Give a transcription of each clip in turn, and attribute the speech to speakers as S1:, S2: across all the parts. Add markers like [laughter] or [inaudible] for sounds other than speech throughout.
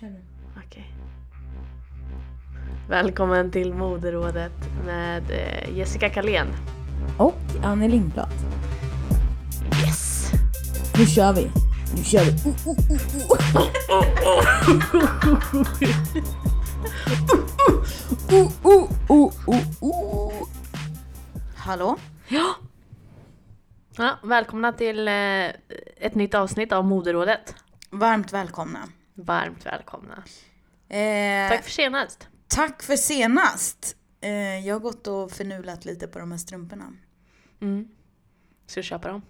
S1: Kör nu.
S2: Okej. Välkommen till moderådet med eh, Jessica Kalén.
S1: Och Annie Lindblad.
S2: Yes!
S1: Nu kör vi. Nu kör vi. Oh, oh, oh, oh. Oh, oh, oh, oh, oh. Hallå?
S2: Ja! ja välkomna till eh, ett nytt avsnitt av moderådet.
S3: Varmt välkomna.
S2: Varmt välkomna.
S3: Eh,
S2: Tack för senast.
S3: tack för senast. Eh, jag har gått och förnulat lite på de här strumporna.
S2: Mm. Ska du köpa dem?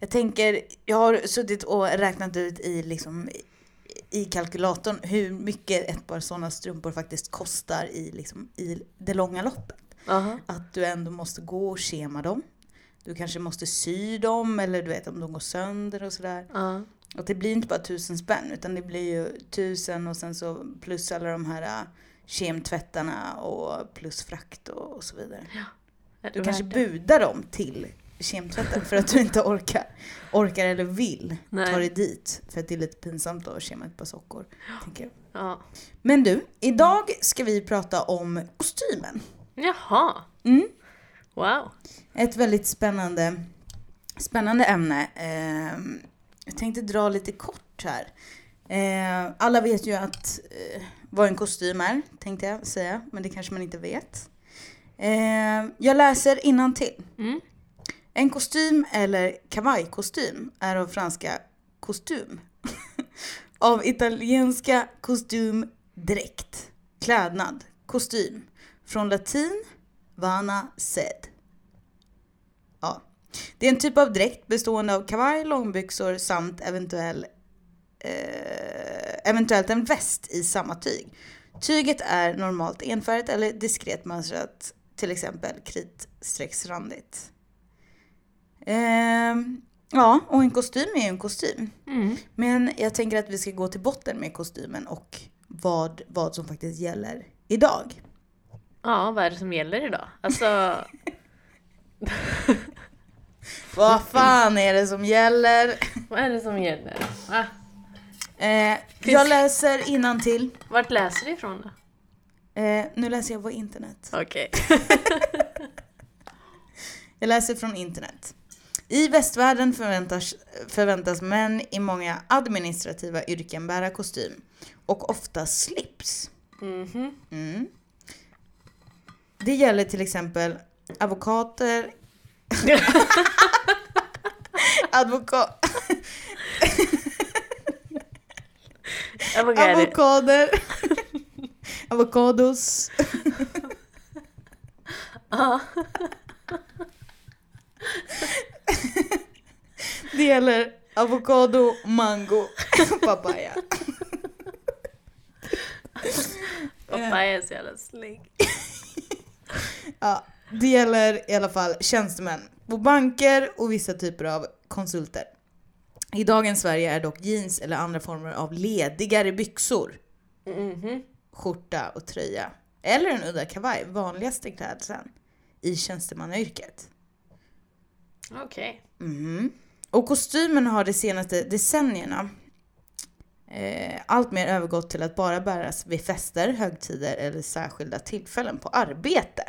S3: Jag tänker, jag har suttit och räknat ut i, liksom, i- i kalkylatorn hur mycket ett par sådana strumpor faktiskt kostar i, liksom, i det långa loppet.
S2: Aha.
S3: Att du ändå måste gå och kema dem. Du kanske måste sy dem eller du vet om de går sönder och sådär.
S2: Ja.
S3: Att det blir inte bara tusen spänn utan det blir ju tusen och sen så plus alla de här äh, kemtvättarna och plus frakt och, och så vidare.
S2: Är det
S3: Du kanske
S2: värt det?
S3: budar dem till kemtvätten för att du inte orkar, orkar eller vill
S2: Nej.
S3: ta dig dit. För att det är lite pinsamt då att kema ett par sockor. Tänker jag.
S2: Ja.
S3: Men du, idag ska vi prata om kostymen.
S2: Jaha!
S3: Mm.
S2: Wow.
S3: Ett väldigt spännande, spännande ämne. Ehm, Jag tänkte dra lite kort här. Ehm, Alla vet ju att eh, vad en kostym är, tänkte jag säga, men det kanske man inte vet. Ehm, Jag läser innantill.
S2: Mm.
S3: En kostym eller kavajkostym är av franska kostym. [laughs] av italienska kostym, dräkt, klädnad, kostym. Från latin, vana sed. Ja. Det är en typ av dräkt bestående av kavaj, långbyxor samt eventuell, eh, eventuellt en väst i samma tyg. Tyget är normalt enfärgat eller diskret mönstrat, till exempel kritstrecksrandigt. Ehm, ja, och en kostym är ju en kostym.
S2: Mm.
S3: Men jag tänker att vi ska gå till botten med kostymen och vad, vad som faktiskt gäller idag.
S2: Ja, vad är det som gäller idag? Alltså, [laughs]
S3: Vad fan är det som gäller?
S2: vad är det som gäller? Va?
S3: Eh, jag läser innantill.
S2: Vart läser du ifrån då?
S3: Eh, nu läser jag på internet.
S2: Okej.
S3: Jag läser från internet. I västvärlden förväntas, förväntas män i många administrativa yrken bära kostym och ofta slips.
S2: Mhm.
S3: Mm. Det gäller till exempel advokater, advoka-
S2: Jag vågar-
S3: avokader, avokados,
S2: Ja.
S3: det gäller avokado, mango, [laughs] papaya. Eh.
S2: Pappa är så jävla snygg.
S3: Ja, det gäller i alla fall tjänstemän på banker och vissa typer av konsulter. I dagens Sverige är dock jeans eller andra former av ledigare byxor,
S2: Mhm.
S3: Mm-hmm. skjorta och tröja eller en udda kavaj vanligaste klädseln i tjänstemannayrket.
S2: Okej.
S3: Mhm. Och kostymen har de senaste decennierna eh, allt mer övergått till att bara bäras vid fester, högtider eller särskilda tillfällen på arbete.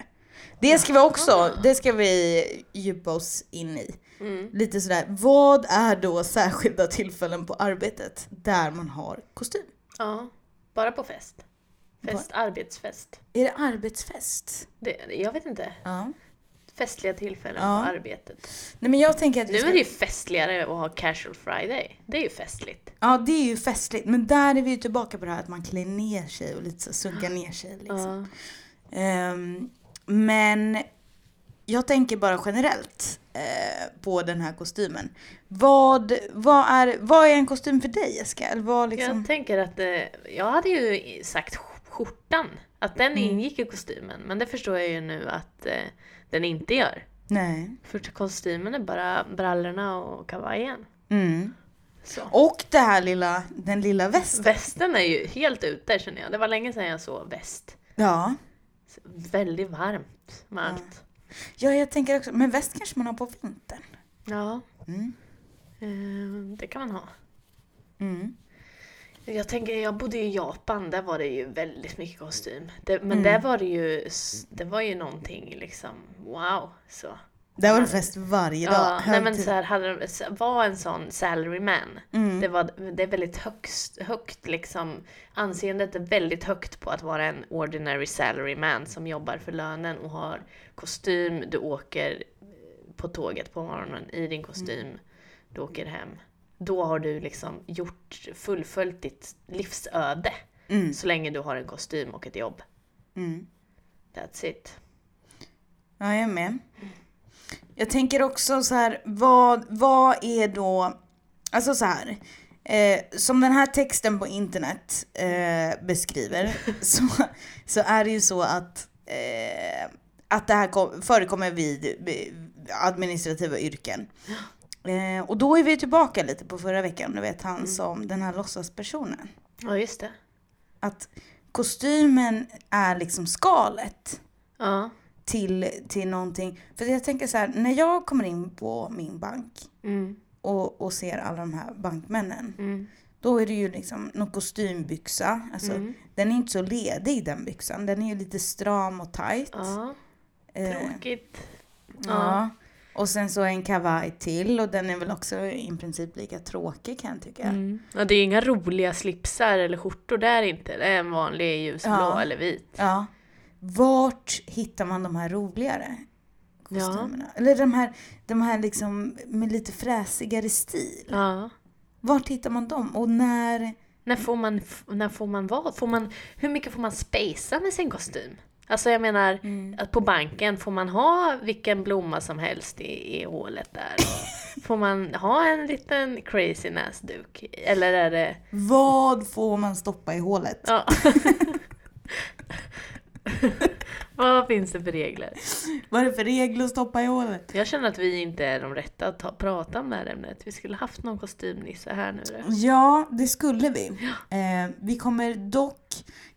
S3: Det ska vi också, det ska vi djupa oss in i.
S2: Mm.
S3: Lite sådär, vad är då särskilda tillfällen på arbetet där man har kostym?
S2: Ja. Bara på fest. Fest, arbetsfest.
S3: Är det arbetsfest?
S2: Det, jag vet inte.
S3: Ja.
S2: Festliga tillfällen
S3: Ja.
S2: på arbetet.
S3: Nej men jag tänker att
S2: Nu
S3: vi
S2: är
S3: ska...
S2: det ju festligare att ha casual friday. Det är ju festligt.
S3: Ja det är ju festligt, men där är vi ju tillbaka på det här att man klär ner sig och lite så sunkar ner sig liksom.
S2: Ja.
S3: Ehm, men jag tänker bara generellt eh, på den här kostymen. Vad, vad, är, vad är en kostym för dig Jessica? Eller vad liksom...
S2: Jag tänker att eh, jag hade ju sagt sk- skjortan. Att den
S3: Mm.
S2: ingick i kostymen. Men det förstår jag ju nu att eh, den inte gör.
S3: Nej.
S2: För kostymen är bara brallorna och kavajen.
S3: Mm.
S2: Så.
S3: Och det här lilla, den lilla västen.
S2: Västen är ju helt ute känner jag. Det var länge sedan jag såg väst.
S3: Ja.
S2: Väldigt varmt med
S3: Ja.
S2: allt.
S3: ja, jag tänker också, men väst kanske man har på vintern.
S2: Ja,
S3: Mm.
S2: eh, det kan man ha.
S3: Mm.
S2: Jag tänker, jag bodde i Japan, där var det ju väldigt mycket kostym. Det, men där var det ju, s- det var ju någonting liksom, wow. Så.
S3: Där var det fest varje dag.
S2: Ja, nej men
S3: högtid. Mm.
S2: så här, hade de, s- var en sån salaryman. Det, var, det är väldigt högst, högt liksom, anseendet är väldigt högt på att vara en ordinary salaryman som jobbar för lönen och har kostym, du åker på tåget på morgonen i din kostym, du åker hem. Då har du liksom gjort, fullföljt ditt livsöde.
S3: Mm.
S2: Så länge du har en kostym och ett jobb.
S3: Mm.
S2: That's it.
S3: Ja, jag är med. Jag tänker också så här, vad, vad är då, alltså så här, eh, som den här texten på internet eh, beskriver [laughs] så, så är det ju så att, eh, att det här kom, förekommer vid vid administrativa yrken. Eh, och då är vi tillbaka lite på förra veckan, du vet han som den här låtsaspersonen.
S2: Ja, just det.
S3: Att kostymen är liksom skalet
S2: Ja.
S3: till, till någonting. För jag tänker så här, när jag kommer in på min bank
S2: Mm.
S3: och, och ser alla de här bankmännen.
S2: Mm.
S3: Då är det ju liksom någon kostymbyxa. Alltså, Den är inte så ledig den byxan. Den är ju lite stram och tajt.
S2: Ja.
S3: Eh,
S2: Tråkigt.
S3: ja. Och sen så en kavaj till och den är väl också i princip lika tråkig kan jag tycka.
S2: Mm. Ja, det är inga roliga slipsar eller skjortor där inte. Det är en vanlig ljusblå
S3: Ja.
S2: eller vit.
S3: Ja. Vart hittar man de här roligare
S2: Ja.
S3: kostymerna? Eller de här, de här liksom med lite fräsigare stil.
S2: Ja.
S3: Vart hittar man dem? Och när...
S2: När får man, f- när får man vad? Får man, hur mycket får man spacea med sin kostym? Alltså jag menar, att på banken, får man ha vilken blomma som helst i, i hålet där? [laughs] Och får man ha en liten crazy näsduk? Eller är det...
S3: Vad får man stoppa i hålet?
S2: Ja. [laughs] vad finns det för regler?
S3: Vad är det för regler att stoppa i hålet?
S2: Jag känner att vi inte är de rätta att ta, prata om det här ämnet. Vi skulle haft någon kostymnisse här nu. då.
S3: Ja, det skulle vi. Eh, vi kommer dock,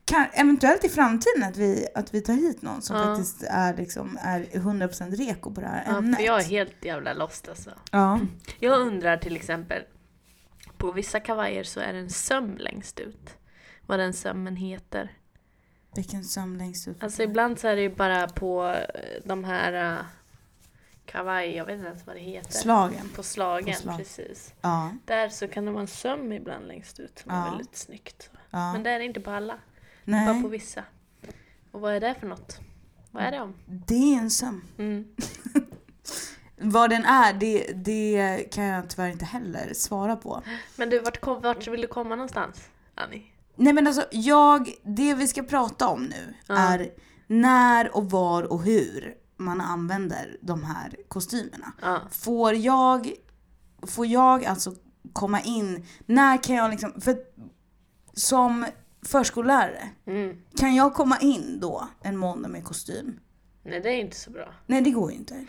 S3: kan, eventuellt i framtiden, att vi, att vi tar hit någon som
S2: Ja.
S3: faktiskt är, liksom, är 100% reko på det här
S2: Ja,
S3: ämnet.
S2: för jag är helt jävla lost alltså.
S3: Ja.
S2: Jag undrar till exempel, på vissa kavajer så är det en söm längst ut. Vad den sömmen heter.
S3: Vilken söm längst ut.
S2: Alltså ibland så är det ju bara på eh, de här eh, kavaj, jag vet inte ens vad det heter.
S3: Slagen.
S2: På slagen,
S3: På slag.
S2: precis.
S3: Ja,
S2: Där så kan det vara en söm ibland längst ut som är
S3: Ja.
S2: väldigt snyggt.
S3: ja.
S2: Men det är det inte på alla, bara
S3: Nej,
S2: på vissa. Och vad är det för något? Vad är det om?
S3: det är en söm.
S2: Mm.
S3: Vad den är, det, det kan jag tyvärr inte heller svara på.
S2: Men du, vart, kom, vart vill du komma någonstans, Annie?
S3: Nej men alltså, jag, det vi ska prata om nu
S2: Ja.
S3: är när och var och hur man använder de här kostymerna.
S2: Ja.
S3: Får jag, får jag alltså komma in, när kan jag liksom, för som förskollärare,
S2: Mm.
S3: kan jag komma in då en måndag med kostym?
S2: Nej, det är inte så bra.
S3: Nej det går ju inte.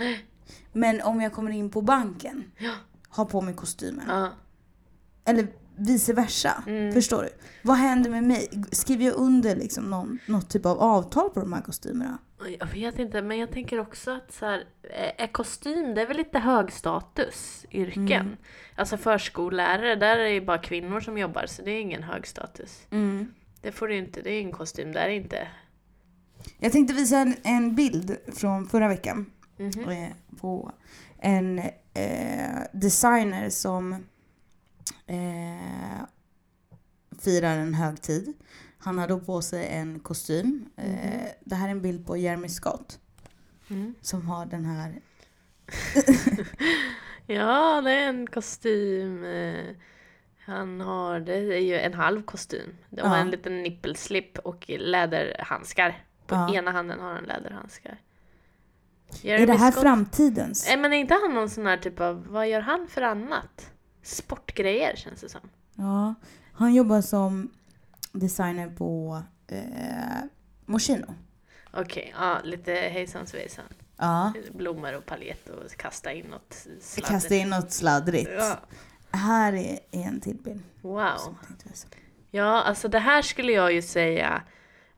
S3: Men om jag kommer in på banken,
S2: Ja.
S3: har på mig kostymen.
S2: Ja.
S3: Eller vice versa.
S2: Mm.
S3: Förstår du? Vad händer med mig? Skriver jag under liksom någon, något typ av avtal på de här kostymerna?
S2: Jag vet inte, men jag tänker också att så här, eh, är kostym, det är väl lite högstatusyrken. Alltså förskollärare, där är det ju bara kvinnor som jobbar så det är ingen högstatus. Det får du inte, det är ingen kostym där inte.
S3: Jag tänkte visa en, en bild från förra veckan.
S2: Mm. Mhm.
S3: eh, På en eh, designer som eh, firar en högtid. Han har då på sig en kostym. Eh, det här är en bild på Jeremy Scott.
S2: Mm.
S3: Som har den här
S2: Ja, det är en kostym. eh, Han har, det är ju en halv kostym. Det var
S3: Ja.
S2: en liten nippelslip och läderhandskar. På
S3: Ja.
S2: ena handen har han läderhandskar.
S3: är det
S2: Jeremy
S3: här
S2: Scott-
S3: framtidens?
S2: Nej men är inte han någon sån här typ av, vad gör han för annat? Sportgrejer känns det som.
S3: Ja, han jobbar som designer på eh, Moschino.
S2: Okej, ja lite hejsan svejsan.
S3: Ja,
S2: Blommor och paljett och kasta in något sladder.
S3: kasta in något sladdrigt.
S2: Ja,
S3: Här är är en till bild.
S2: wow.
S3: som jag tänkte visa.
S2: Ja, alltså det här skulle jag ju säga,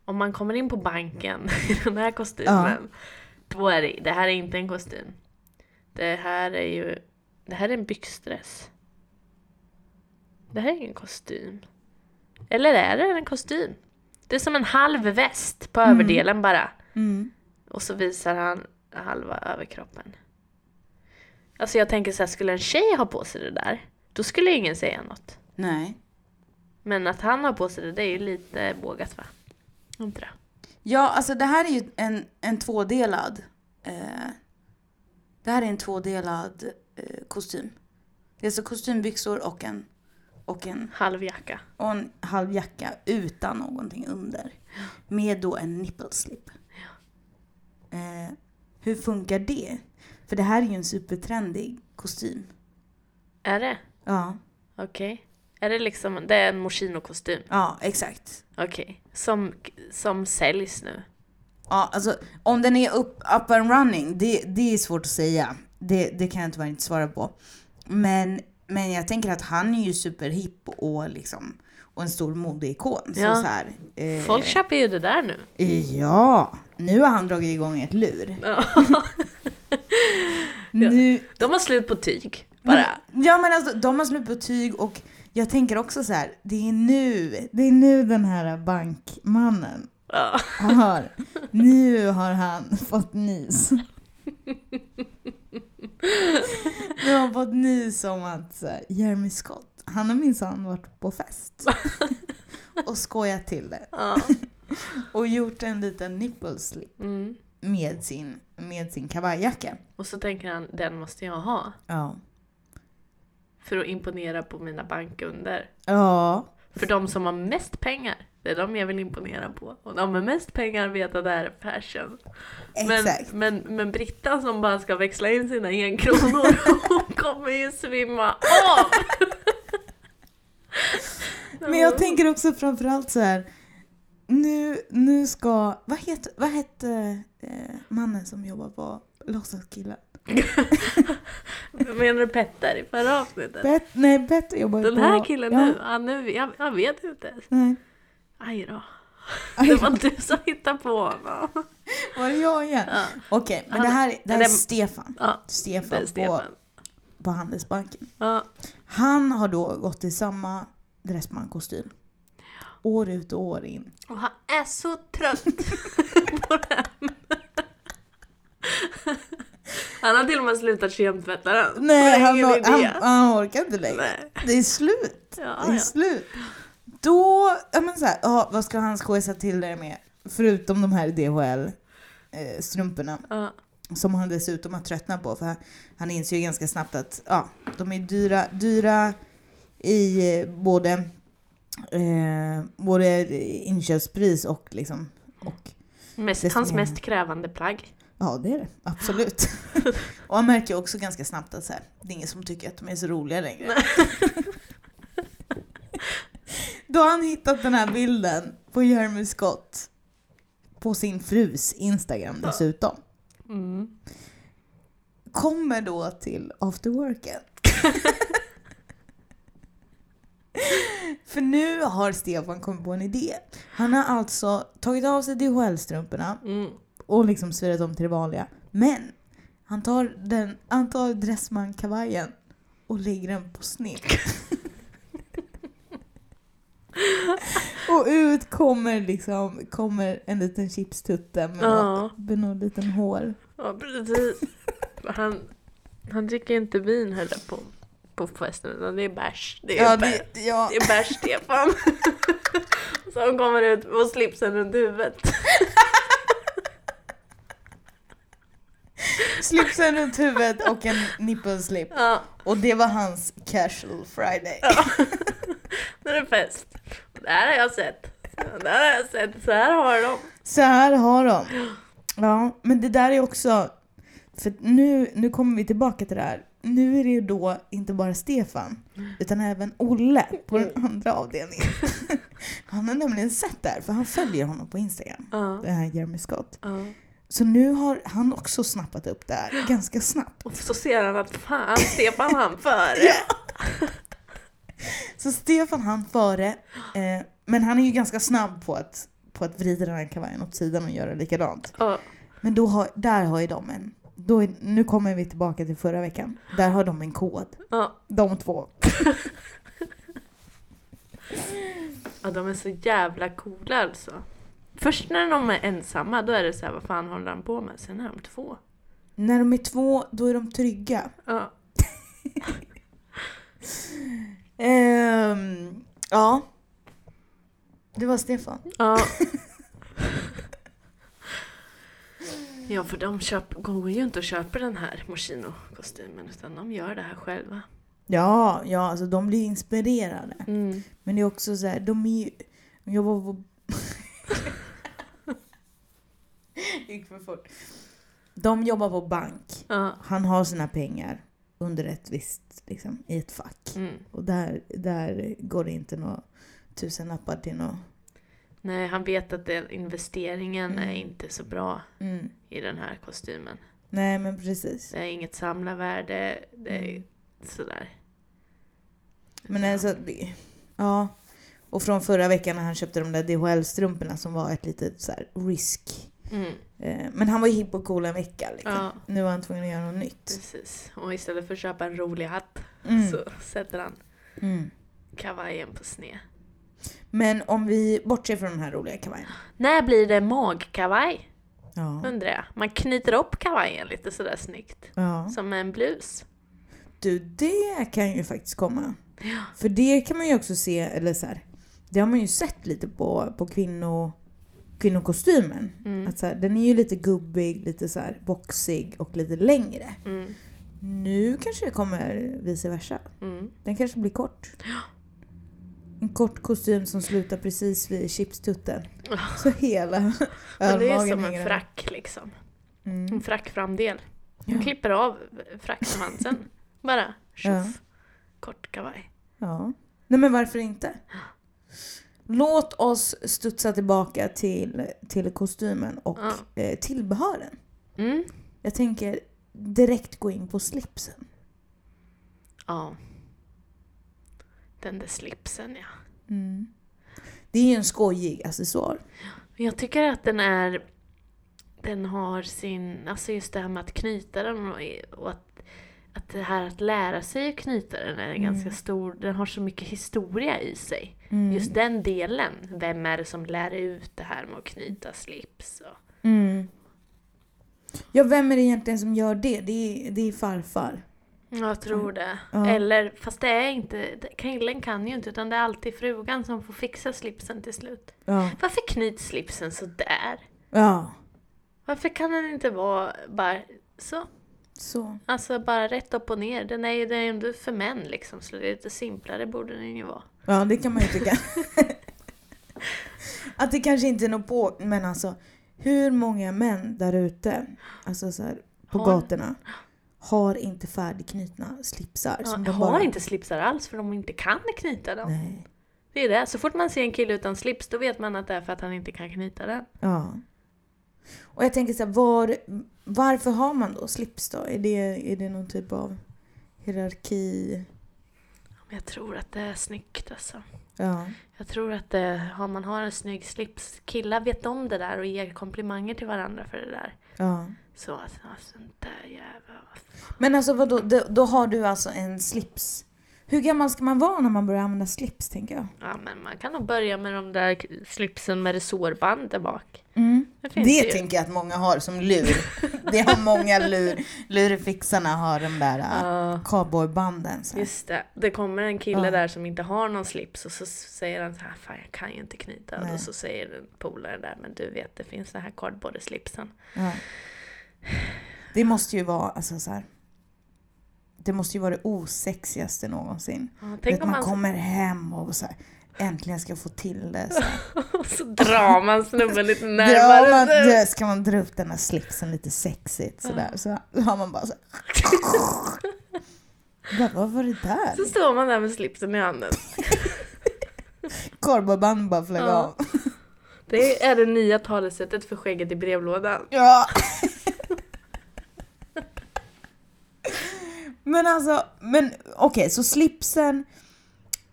S2: om man kommer in på banken [laughs] i den här kostymen, då är det, det här är inte en kostym. Det här är ju, det här är en byxdress. Det här är ingen kostym. Eller är det en kostym? Det är som en halv väst på överdelen bara.
S3: Mm.
S2: Och så visar han halva överkroppen. Alltså jag tänker så här, skulle en tjej ha på sig det där, då skulle ingen säga något.
S3: Nej.
S2: Men att han har på sig det, det är ju lite bågat va? Inte det?
S3: Ja, alltså det här är ju en, en tvådelad... Eh, det här är en tvådelad eh, kostym. Det är alltså kostymbyxor och en, och en,
S2: Halvjacka.
S3: och en halv jacka utan någonting under. Med då en nippelslip. Eh, hur funkar det? För det här är ju en supertrendig kostym.
S2: Är det?
S3: Ja,
S2: Okej. Är det liksom, det är en Moschino-kostym?
S3: ja exakt.
S2: Okej. Som, som säljs nu.
S3: Ja, alltså om den är upp, up and running, det, det är svårt att säga. Det, det kan jag tyvärr inte svara på. Men, men jag tänker att han är ju superhipp och liksom och en stor modeikon.
S2: Ja.
S3: Så så här, eh,
S2: Folk köper ju det där nu.
S3: Ja, nu har han dragit igång ett lur. nu,
S2: [laughs] De har slut på tyg. Bara.
S3: Ja men alltså de har slut på tyg och jag tänker också så här, det är nu, det är nu den här bankmannen
S2: Ja.
S3: har, nu har han fått nys. Nu har han fått nys om att så här, Jeremy Scott, han har minsann varit på fest. Och skojat till det.
S2: ja.
S3: Och gjort en liten nipple slip
S2: Mm.
S3: med sin, med sin kavajjacka.
S2: Och så tänker han, den måste jag ha.
S3: Ja.
S2: För att imponera på mina bankunder.
S3: Ja.
S2: För de som har mest pengar, det är de jag vill imponera på. Och de med mest pengar vet att det här är fashion. Men,
S3: Exakt.
S2: men, men Britta som bara ska växla in sina enkronor, [laughs] hon kommer ju svimma av!
S3: [laughs] Men jag tänker också framförallt så här. Nu, nu ska... Vad hette vad hette, eh, mannen som jobbar på låtsaskillar?
S2: Menar du Petter i förra avsnittet?
S3: Bet, nej, Bett jobbar ju
S2: Den
S3: på...
S2: här killen
S3: ja,
S2: nu, han nu jag, jag vet inte. [laughs]
S3: Nej.
S2: Aj då.
S3: Aj,
S2: Det var du som hittade på honom.
S3: Var det jag igen?
S2: Ja,
S3: Okej, men
S2: Han-
S3: det här, det här är
S2: det-
S3: Stefan.
S2: ja det
S3: Stefan,
S2: är Stefan.
S3: På, på Handelsbanken.
S2: Ja,
S3: Han har då gått i samma dressmankostym. År ut och år in.
S2: och han är så trött [laughs] på den. Han har till och med slutat kemtvätta den.
S3: Nej,
S2: Det är
S3: han,
S2: ingen
S3: or-
S2: idé.
S3: han, han orkar inte längre.
S2: Nej.
S3: Det är slut.
S2: Ja,
S3: Det är
S2: Ah, ja.
S3: slut. Då, ja men så här, ja, vad ska han skojsa till det med? Förutom de här DHL-strumporna
S2: Ja.
S3: eh, som han dessutom har tröttnat på för han- han inser ju ganska snabbt att ja, de är dyra, dyra i eh, både, eh, både inköpspris och liksom och Det
S2: Mest,
S3: som
S2: hans
S3: är-
S2: mest krävande plagg.
S3: Ja, det är det. Absolut. och han märker ju också ganska snabbt att så här, det är ingen som tycker att de är så roliga längre. [laughs] Då har han hittat den här bilden på Jeremy Scott på sin frus Instagram dessutom.
S2: Mm.
S3: Kommer då till afterworken. För nu har Stefan kommit på en idé. Han har alltså tagit av sig DHL-strumporna
S2: Mm.
S3: och liksom svirat om till det vanliga. Men han tar, den, han tar dressmankavajen och lägger den på sned.
S2: [laughs]
S3: och ut kommer liksom kommer en liten chipstutte med,
S2: Ja.
S3: något- med någon liten hår.
S2: Ja, precis. Han, han dricker inte vin höll jag på, på festen utan det är bärs. Det är,
S3: Ja,
S2: bärs.
S3: det, ja.
S2: Det är bärs
S3: [laughs]
S2: Stefan. Som kommer ut och slipsen runt huvudet.
S3: Slipsen runt huvudet och en nippelslip.
S2: Ja,
S3: Och det var hans casual friday.
S2: [laughs] nu är det fest. Det här har jag sett. Det här har jag sett. Så här har de.
S3: Så här har de. Ja, men det där är också... För nu, nu kommer vi tillbaka till det här. Nu är det ju då inte bara Stefan, utan även Olle på den andra avdelningen. [laughs] Han har nämligen sett det här, för han följer honom på Instagram,
S2: Ja,
S3: det här Jeremy Scott.
S2: ja.
S3: Så nu har han också snappat upp det här, ganska snabbt.
S2: Och så ser han att fan Stefan han före.
S3: Så Stefan han före, eh, men han är ju ganska snabb på att, på att vrida den här kavajen åt sidan och göra likadant.
S2: Ja.
S3: Men då har, där har ju de en... Då är, nu kommer vi tillbaka till förra veckan. Där har de en kod.
S2: Ja.
S3: De två.
S2: Ja, de är så jävla coola alltså. Först när de är ensamma, då är det så här, vad fan håller han på med? Sen är de två.
S3: När de är två, då är de trygga.
S2: Ja.
S3: Ehm, ja. Det var Stefan. [laughs]
S2: Ja. ja, för de köp, går ju inte och köper den här Moschino-kostymen, utan de gör det här själva.
S3: Ja, ja, alltså de blir inspirerade.
S2: Mm.
S3: Men det är också så här, de är ju... Jag var på... [laughs] gick för fort. De jobbar på bank.
S2: Ja.
S3: Han har sina pengar under ett visst, liksom, i ett fack.
S2: Mm.
S3: Och där, där går det inte några tusenlappar till något.
S2: Nej, han vet att den investeringen
S3: Mm.
S2: är inte så bra
S3: Mm.
S2: i den här kostymen.
S3: Nej men precis.
S2: Det är inget samlarvärde, det är sådär.
S3: Mm. Men alltså, det- ja. Och från förra veckan när han köpte de där DHL-strumporna som var ett litet så här risk.
S2: Mm,
S3: Eh, Men han var ju hipp och cool en vecka liksom.
S2: Ja.
S3: Nu var han tvungen att göra något nytt.
S2: precis. Och istället för att köpa en rolig hatt
S3: Mm.
S2: så sätter han
S3: Mm.
S2: kavajen på sned.
S3: Men om vi bortser från de här roliga kavajerna.
S2: När blir det magkavaj?
S3: Ja.
S2: Undrar jag. Man knyter upp kavajen lite sådär snyggt.
S3: ja.
S2: Som en blus.
S3: Du, det kan ju faktiskt komma. För det kan man ju också se, eller så här, det har man ju sett lite på, på kvinno, kvinnokostymen.
S2: Mm,
S3: Att så här, den är ju lite gubbig, lite så här boxig och lite längre.
S2: Mm,
S3: Nu kanske det kommer vice versa.
S2: mm.
S3: Den kanske blir kort. En kort kostym som slutar precis vid chipstutten. Så hela
S2: Men det är
S3: ölmagen
S2: som en
S3: hänger
S2: frack liksom.
S3: Mm.
S2: En frackframdel.
S3: Ja.
S2: Klipper av
S3: [laughs]
S2: frackmansen. Bara tjoff. Kort kavaj.
S3: Ja. Nej men varför inte? Låt oss studsa tillbaka till, till kostymen och
S2: Ja.
S3: eh, tillbehören.
S2: Mm.
S3: Jag tänker direkt gå in på slipsen.
S2: Ja. Den där slipsen ja.
S3: Mm. Det är ju en skojig accessoar.
S2: Men Jag tycker att den är... Den har sin... Alltså just det här med att knyta den och, och att, att det här att lära sig att knyta den är en ganska stor... Den har så mycket historia i sig.
S3: Mm.
S2: Just den delen. Vem är det som lär ut det här med att knyta slips? Och,
S3: Mm. Ja, vem är det egentligen som gör det? Det är, det är farfar.
S2: Ja, jag tror det.
S3: Ja.
S2: Eller, fast det är inte... det- Killen kan ju inte utan det är alltid frugan som får fixa slipsen till slut.
S3: Ja.
S2: Varför knyts slipsen så där?
S3: Ja.
S2: Varför kan den inte vara bara så?
S3: Så.
S2: Alltså bara rätt upp och ner. Den är ju den är ju ändå för män liksom, så det är lite simplare borde den ju vara.
S3: Ja, det kan man ju tycka. att det kanske inte är något på, men alltså hur många män där ute, alltså så här, på
S2: Har-
S3: gatorna, har inte färdigknutna slipsar?
S2: Ja,
S3: som
S2: jag
S3: de
S2: har
S3: bara-
S2: inte slipsar alls för de inte kan knyta dem.
S3: Nej.
S2: Det är det. Så fort man ser en kille utan slips då vet man att det är för att han inte kan knyta den.
S3: Ja. Och jag tänker så här, var, varför har man då slips då? Är det, är det någon typ av hierarki?
S2: Men jag tror att det är snyggt alltså.
S3: Ja.
S2: Jag tror att det, om man har en snygg slips, killar vet om det där och ger komplimanger till varandra för det där.
S3: ja.
S2: Så alltså, sånt där jävla... vad fan.
S3: Men alltså vadå, då, då har du alltså en slips. Hur gammal ska man vara när man börjar använda slips tänker jag?
S2: Ja men man kan nog börja med de där slipsen med resårband där bak.
S3: Mm.
S2: Det finns
S3: Det
S2: ju.
S3: tänker jag att många har som lur.
S2: [laughs]
S3: Det har många lur. Lurfixarna har de där äh,
S2: Ja.
S3: cowboybanden. Så. här.
S2: Just det, Ah. det kommer en kille
S3: Ja.
S2: där som inte har någon slips och så säger han så här, fan jag kan ju inte knyta. Och
S3: Nej.
S2: då så säger den polaren där, men du vet det finns den här kardborreslipsen.
S3: Ja. Det måste ju vara, alltså så här. Det måste ju vara det osexigaste någonsin.
S2: Ja,
S3: Tänk
S2: tänk
S3: att
S2: om
S3: man
S2: man
S3: kommer hem och så här, äntligen ska få till det. Så här.
S2: och [laughs] så drar man snubben [laughs] lite
S3: Drar man,
S2: närmare.
S3: dö, ska man dra upp den här slipsen lite sexigt så där. Så har man bara så
S2: [laughs]
S3: här. Bara, Vad var det där?
S2: Så står man där med slipsen i handen.
S3: Korvband bara flög
S2: Ja.
S3: av.
S2: Det är det nya talesättet för skägget i brevlådan.
S3: Ja. [laughs] men alltså, men okej, så slipsen.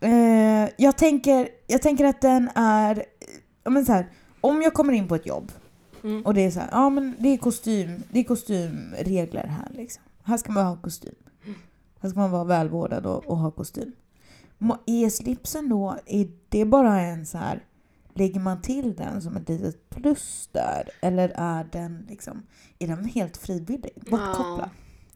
S3: Eh, jag, tänker, jag tänker att den är, eh, ja, men så här, om jag kommer in på ett jobb
S2: Mm.
S3: och det är så här, ja men det är kostym, det är kostymregler här liksom. Här ska man ha kostym. Här ska man vara välvårdad och, och ha kostym. Må- Är slipsen då, är det bara en så här, lägger man till den som ett litet plus där? Eller är den liksom, är den helt frivillig? Bortkopplad?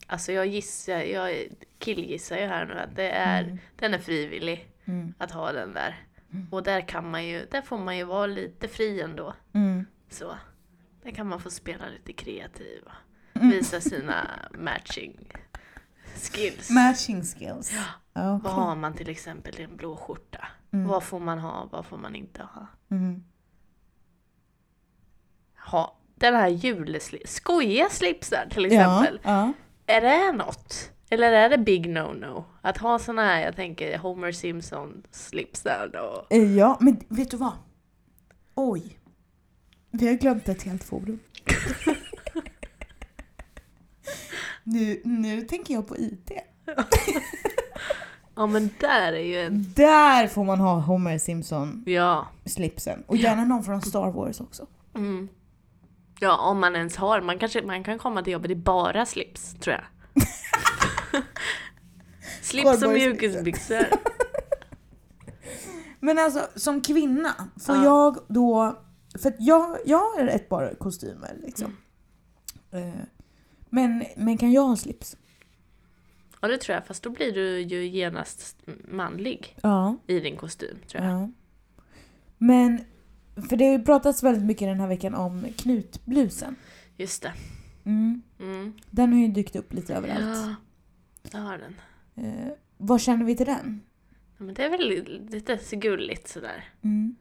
S2: Alltså jag gissar, jag killgissar ju här nu att det är, den är frivillig
S3: Mm.
S2: att ha den där. Och där kan man ju, där får man ju vara lite fri ändå.
S3: Mm.
S2: Så. Där kan man få spela lite kreativ och
S3: Mm.
S2: visa sina matching skills.
S3: Matching skills. Ja.
S2: Vad
S3: Okej.
S2: har man till exempel i en blå skjorta? Vad får man ha, vad får man inte ha?
S3: Mm.
S2: ha den här julesli- skojiga slipsar till
S3: Ja,
S2: exempel.
S3: ja.
S2: Är det något? Eller är det big no-no? Att ha såna här, jag tänker Homer Simpson slipsar då.
S3: Eh, ja, men
S4: Vet du vad? Oj.
S3: vi har glömt ett helt
S2: [laughs]
S3: forum. nu, nu tänker jag på IT.
S2: Ja men där är ju en...
S3: Där får man ha Homer Simpson
S2: Ja.
S3: slipsen. Och gärna någon från Star Wars också.
S2: Mm. Ja, om man ens har. Man, kanske, man kan komma till jobbet i bara slips, tror
S3: [laughs]
S2: jag. slips och
S3: Cowboyslips.
S2: mjukisbyxor.
S3: Men alltså som kvinna, får
S2: Ja.
S3: jag då... För att jag, jag har ett par kostymer liksom.
S2: Mm.
S3: Eh, Men, men kan jag ha slips?
S2: Ja det tror jag, fast då blir du ju genast manlig
S3: Ja.
S2: i din kostym, tror jag.
S3: ja. Men, för det har ju pratats väldigt mycket den här veckan om knutblusen.
S2: Just det.
S3: Mm.
S2: Mm.
S3: Den har ju dykt upp lite överallt.
S2: Ja, jag har den.
S3: Eh, vad känner vi till den?
S2: Ja, men det är väl lite så gulligt sådär.
S3: Mm.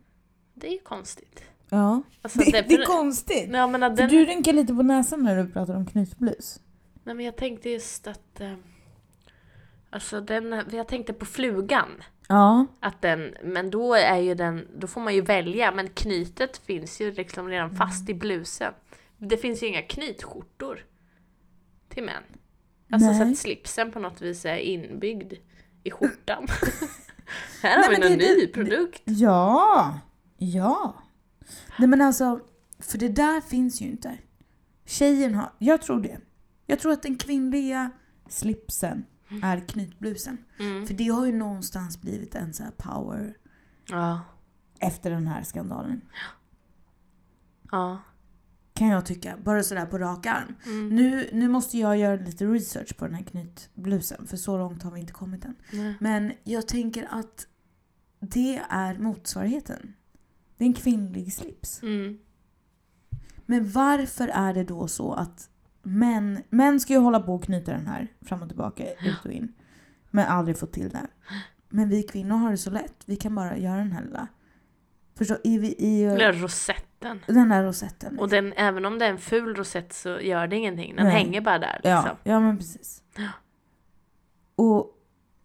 S2: Det är ju konstigt.
S3: Ja.
S2: Alltså,
S3: Det, det är
S2: för-
S3: konstigt!
S2: Ja, men att
S3: För
S2: den...
S3: Du rynkar lite på näsan när du pratar om knutblus.
S2: Nej men jag tänkte just att... Eh, alltså den... Jag tänkte på flugan.
S3: Ja.
S2: Att den... Men då är ju den... Då får man ju välja. Men knytet finns ju liksom
S3: Mm.
S2: redan fast i blusen. Det finns ju inga knytskjortor. Till män. Alltså så
S3: Nej.
S2: att slipsen på något vis är inbyggd
S3: [laughs]
S2: i skjortan. Här
S3: Nej,
S2: har
S3: men
S2: vi en
S3: det är
S2: ny
S3: det-
S2: produkt.
S3: Ja! Ja! Nej men alltså, för det där finns ju inte. Tjejen har, jag tror det. Jag tror att den kvinnliga slipsen är knytblusen.
S2: Mm.
S3: För det har ju någonstans blivit en så här power
S2: Ja.
S3: efter den här skandalen.
S2: Ja.
S3: Kan jag tycka, bara sådär på rak arm.
S2: Mm.
S3: Nu, nu måste jag göra lite research på den här knytblusen, för så långt har vi inte kommit än.
S2: Nej.
S3: Men jag tänker att det är motsvarigheten. Det är en kvinnlig slips.
S2: Mm.
S3: Men varför är det då så att män, män ska ju hålla på och knyta den här fram och tillbaka, ut och in. Men aldrig få till det. Men vi kvinnor har det så lätt. Vi kan bara göra den här lilla. Förstå, i, vi- i eh,
S2: Eller rosetten.
S3: den här rosetten.
S2: Och den, även om det är en ful rosett så gör det ingenting. Den
S3: Nej.
S2: hänger bara där
S3: ja,
S2: liksom.
S3: ja, men precis. Och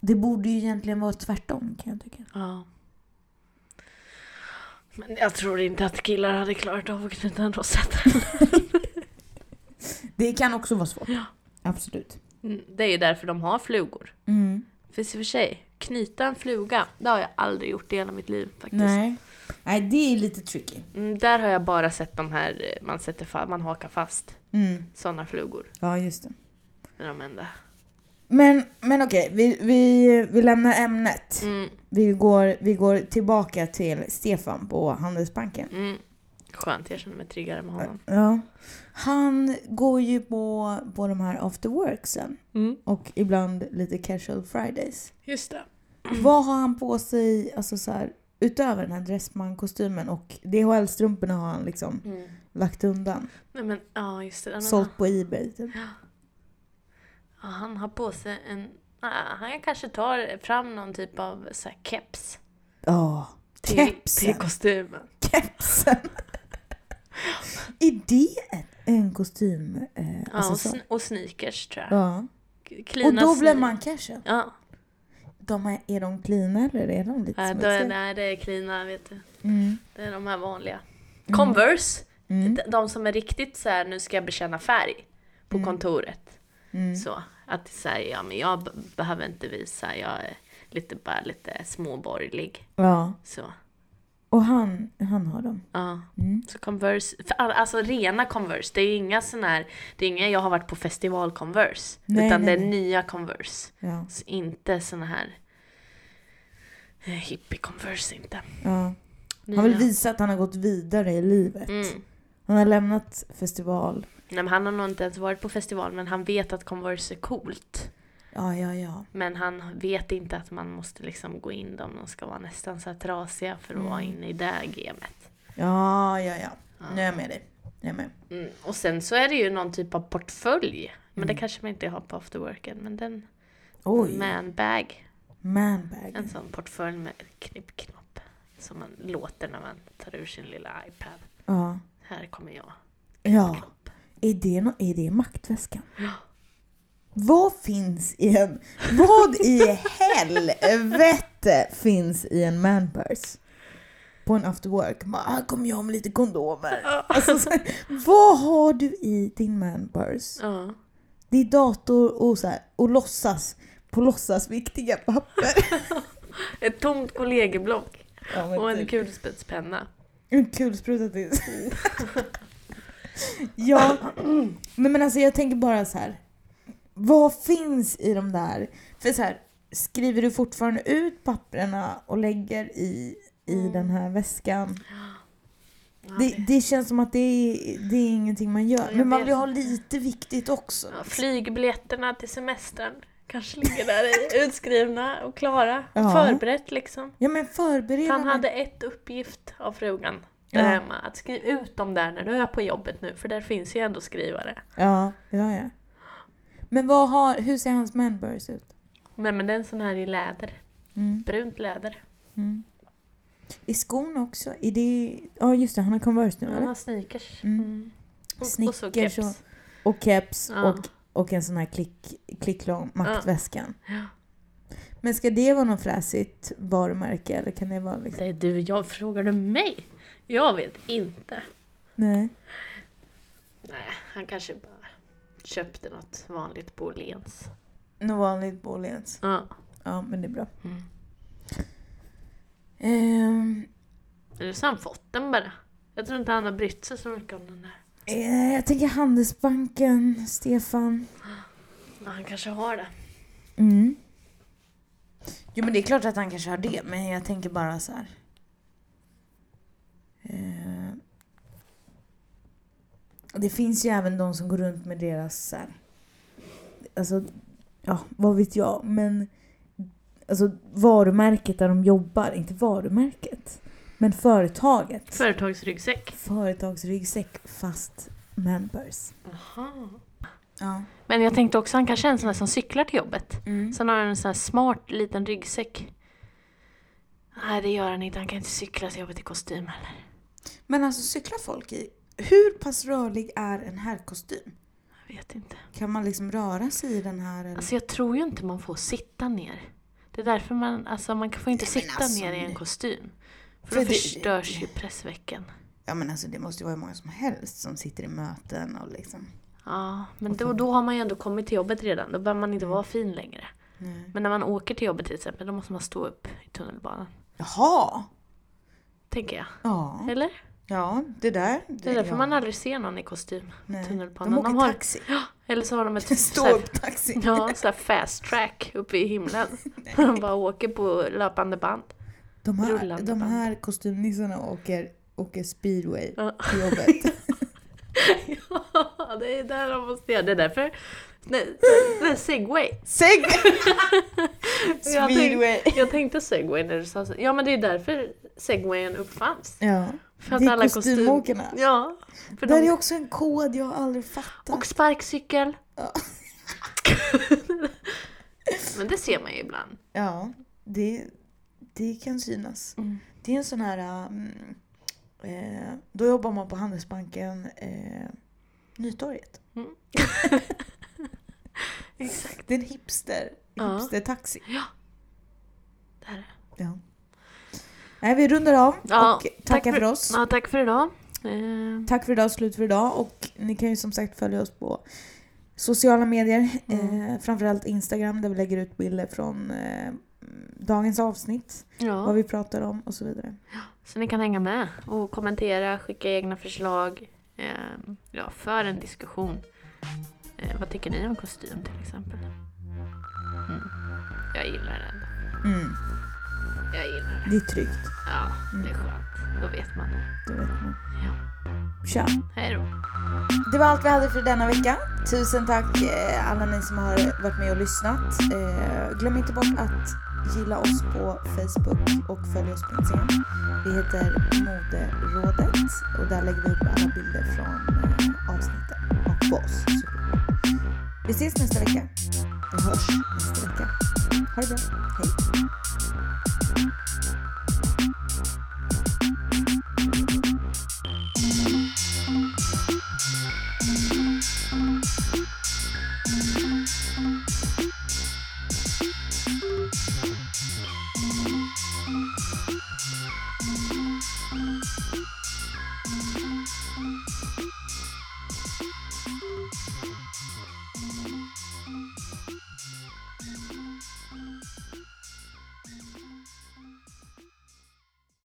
S3: det borde ju egentligen vara tvärtom kan jag tycka.
S2: Ja. Men jag tror inte att killar hade klarat av att knyta en rosett.
S3: Det kan också vara svårt. Absolut.
S2: Mm, Det är ju därför de har flugor.
S3: Mm.
S2: För i och för sig, knyta en fluga, det har jag aldrig gjort i hela mitt liv faktiskt.
S3: Nej. Nej, det är lite tricky.
S2: Mm, där har jag bara sett de här, eh, man, sätter fa- man hakar fast
S3: Mm.
S2: sådana flugor.
S3: Ja, just det.
S2: Det är de enda.
S3: Men, men okej, vi, vi, vi lämnar ämnet.
S2: Mm,
S3: Vi går, vi går tillbaka till Stefan på Handelsbanken.
S2: mm. Skönt, jag känner mig tryggare med honom.
S3: Ja. Han går ju på, på de här after worksen
S2: Mm.
S3: och ibland lite casual fridays.
S2: Just det.
S3: Vad har han på sig, alltså så här, utöver den här dressman-kostymen och DHL-strumporna har han liksom
S2: Mm.
S3: lagt undan.
S2: Nej men, ja just det. Nej, men
S3: Sålt på Ebay typ.
S2: Ja, han har på sig en... Ah, han kanske tar fram någon typ av så här, keps.
S3: Ja.
S2: Till, till
S3: Kepsen.
S2: kostymen.
S3: Kepsen. Är det en kostym? Eh,
S2: Ja, och,
S3: accessoar?
S2: sn- och sneakers tror jag.
S3: ja. Och
S2: Klina
S3: då blir
S2: sne-
S3: man cashen.
S2: Ja,
S3: De är, är de klina eller är de lite
S2: äh, då
S3: smutsiga?
S2: är, nej, det är klina vet du.
S3: Mm.
S2: Det är de här vanliga. Converse,
S3: Mm.
S2: d- de som är riktigt så här, nu ska jag bekänna färg på kontoret.
S3: Mm.
S2: Så, att det är så här, ja men jag b- behöver inte visa, jag är lite, bara lite småborgerlig.
S3: Ja.
S2: Så,
S3: Och han, han har dem.
S2: ja.
S3: Mm.
S2: Så Converse, för all- alltså rena Converse, det är inga sån här, det är inga jag har varit på festival Converse.
S3: Nej,
S2: utan
S3: nej,
S2: det är
S3: nej.
S2: nya Converse.
S3: Ja.
S2: Så inte såna här Eh, Hippie Converse inte.
S3: Ja.
S2: Nya.
S3: Han vill visa att han har gått vidare i livet.
S2: Mm.
S3: Han har lämnat festival.
S2: Nej, men han har nog inte ens varit på festival men han vet att Converse är coolt.
S3: Ja, ja, ja.
S2: Men han vet inte att man måste liksom gå in dem, de ska vara nästan så här trasiga för att vara inne i det gamet.
S3: Ja, ja, ja. Mm. Nu är jag med dig. Jag är med.
S2: Mm. Och sen så är det ju någon typ av portfölj. Men det kanske man inte har på afterworken. Men den,
S3: Mm. Oj,
S2: manbag.
S3: manbag.
S2: En sån portfölj med ett knippknopp. Som man låter när man tar ur sin lilla iPad.
S3: Ja.
S2: Här kommer jag.
S3: ja. Är det, no- är det maktväskan? Vad finns i en... Vad i helvete finns i en manpurse? På en after work. Bara, Här kommer jag med lite [laughs] kondomer. Alltså, så, här, vad har du i din manpurse?
S2: Ja.
S3: Det är dator och, så här, och låtsas. På låtsas viktiga papper.
S2: Ett tomt kollegieblock.
S3: Ja, men
S2: Och en
S3: typ.
S2: kulspetspenna.
S3: En kulspruta till. [laughs] ja, nej men alltså jag tänker bara så här. Vad finns i de där? För så här, skriver du fortfarande ut papperna och lägger i, i den här väskan?
S2: Mm. Ja,
S3: Det, det känns som att det är, det är ingenting man gör.
S2: jag
S3: Men man
S2: vet
S3: vill ha lite viktigt också.
S2: Ja, flygbiljetterna till semestern kanske ligger där
S3: [laughs]
S2: i, utskrivna och klara.
S3: Ja.
S2: Förberett liksom.
S3: Ja men förbereda
S2: Han
S3: mig.
S2: hade ett uppgift av frugan där
S3: Ja.
S2: hemma. Att skriva ut dem där när du är på jobbet nu, för där finns ju ändå skrivare.
S3: Ja, ja, ja. Men vad har, hur ser hans manburs ut?
S2: Nej men det är en sån här i läder.
S3: Mm,
S2: Brunt läder.
S3: mm. I skorna också? Är det, ja just det, han har Converse nu eller?
S2: Han har sneakers.
S3: Mm.
S2: Mm. Och, och så
S3: Snickers
S2: keps.
S3: och, och keps
S2: Ja.
S3: och, och en sån här klick, klicklång maktväskan.
S2: Ja.
S3: Men ska det vara något fräsigt varumärke eller kan det vara liksom...
S2: Det är du, jag frågar du mig? Jag vet inte.
S3: Nej.
S2: Nej, han kanske bara köpte något vanligt på Åhléns.
S3: Något vanligt på Åhléns.
S2: Ja.
S3: Ja, men det är bra.
S2: Mm.
S3: Ehm,
S2: Eller så har han fått den bara. Jag tror inte han har brytt sig så mycket om den där.
S3: eh, jag tänker Handelsbanken, Stefan.
S2: Men han kanske har det.
S3: Mm.
S5: Jo men det är klart att han kanske har det, men jag tänker bara så här.
S3: Eh, det finns ju även de som går runt med deras så här, alltså, ja, vad vet jag, men alltså varumärket där de jobbar, inte varumärket, men företaget.
S2: Företagsryggsäck.
S3: Företagsryggsäck fast manburs.
S2: Aha.
S3: Ja.
S2: Men jag tänkte också han kanske är en sån här som cyklar till jobbet.
S3: Mm.
S2: Sen har han en sån här smart liten ryggsäck. Nej det gör han inte, han kan inte cykla till jobbet i kostym heller.
S5: Men alltså cyklar folk i... Hur pass rörlig är en herrkostym?
S2: Jag vet inte.
S5: Kan man liksom röra sig i den här? Eller?
S2: Mm. Alltså jag tror ju inte man får sitta ner. Det är därför man, alltså man får inte
S5: Nej, men
S2: sitta
S5: alltså,
S2: ner i en
S5: nu-
S2: kostym. För,
S5: För
S2: då
S5: det-
S2: förstörs ju pressveckan.
S5: Ja men alltså det måste ju vara hur många som helst som sitter i möten och liksom...
S2: Ja, men då, då har man ju ändå kommit till jobbet redan. Då behöver man
S5: Mm.
S2: inte vara fin längre.
S5: Nej.
S2: Men när man åker till jobbet till exempel, då måste man stå upp i tunnelbanan.
S5: Jaha!
S2: Tänker jag.
S5: Ja,
S2: Eller?
S5: ja det där.
S2: Det är därför
S5: ja.
S2: man aldrig ser någon i kostym i
S5: Nej.
S2: tunnelbanan.
S5: De åker
S2: har,
S5: taxi.
S2: eller så
S5: [laughs]
S2: har de ett så
S5: Stå
S2: här,
S5: upp taxi.
S2: ja, så här fast track uppe i himlen.
S5: [laughs]
S2: De bara åker på löpande band.
S3: De här,
S2: Rullande
S3: de
S2: band.
S3: här kostymnissarna åker, åker speedway
S2: [laughs] Ja.
S3: till jobbet.
S2: ja, det är där de måste göra. Det är därför... Nej, nej, segway.
S5: Seg!
S2: Jag
S5: Speedway.
S2: tänkte, jag tänkte segway när du sa så. Ja, men det är därför segwayen uppfanns.
S3: ja.
S2: För att
S3: Det är
S2: alla kostym-
S3: kostymåkarna.
S2: Ja. För
S3: Det här
S2: de
S3: är också en kod jag aldrig fattat.
S2: Och sparkcykel.
S3: Ja.
S2: [laughs] Men det ser man ju ibland.
S3: Ja, det, det kan synas.
S2: Mm.
S3: Det är en sån här... Um, eh, då jobbar man på Handelsbanken eh, Nytorget.
S2: Exakt.
S3: Det är en hipster,
S2: Ja.
S3: hipstertaxi.
S2: Där. är det.
S3: Ja. Nej, vi rundar av
S2: Ja,
S3: och
S2: tack
S3: tackar för,
S2: för-
S3: oss.
S2: Ja, tack för idag. Eh,
S3: Tack för idag, slut för idag. Och ni kan ju som sagt följa oss på sociala medier.
S2: Mm.
S3: Eh, framförallt Instagram där vi lägger ut bilder från eh, dagens avsnitt. Vad
S2: ja.
S3: vi pratar om och så vidare.
S2: Så ni kan hänga med och kommentera, skicka egna förslag. Eh, ja, för en diskussion. Eh, vad tycker ni om kostym till exempel? Mm. Jag gillar den.
S3: Mm.
S2: Jag gillar det.
S1: Det är tryggt.
S2: Ja, det är skönt. Då vet man det.
S1: Det vet man.
S2: Ja.
S1: Tja.
S2: Hej då.
S3: Det var allt vi hade för denna vecka. Tusen tack eh, alla ni som har varit med och lyssnat. Eh, Glöm inte bort att gilla oss på Facebook och följ oss på Instagram. Vi heter Moderådet och där lägger vi upp alla bilder från eh, avsnitten och på oss. Vi ses nästa vecka. Vi hörs nästa vecka. Ha det bra. Hej.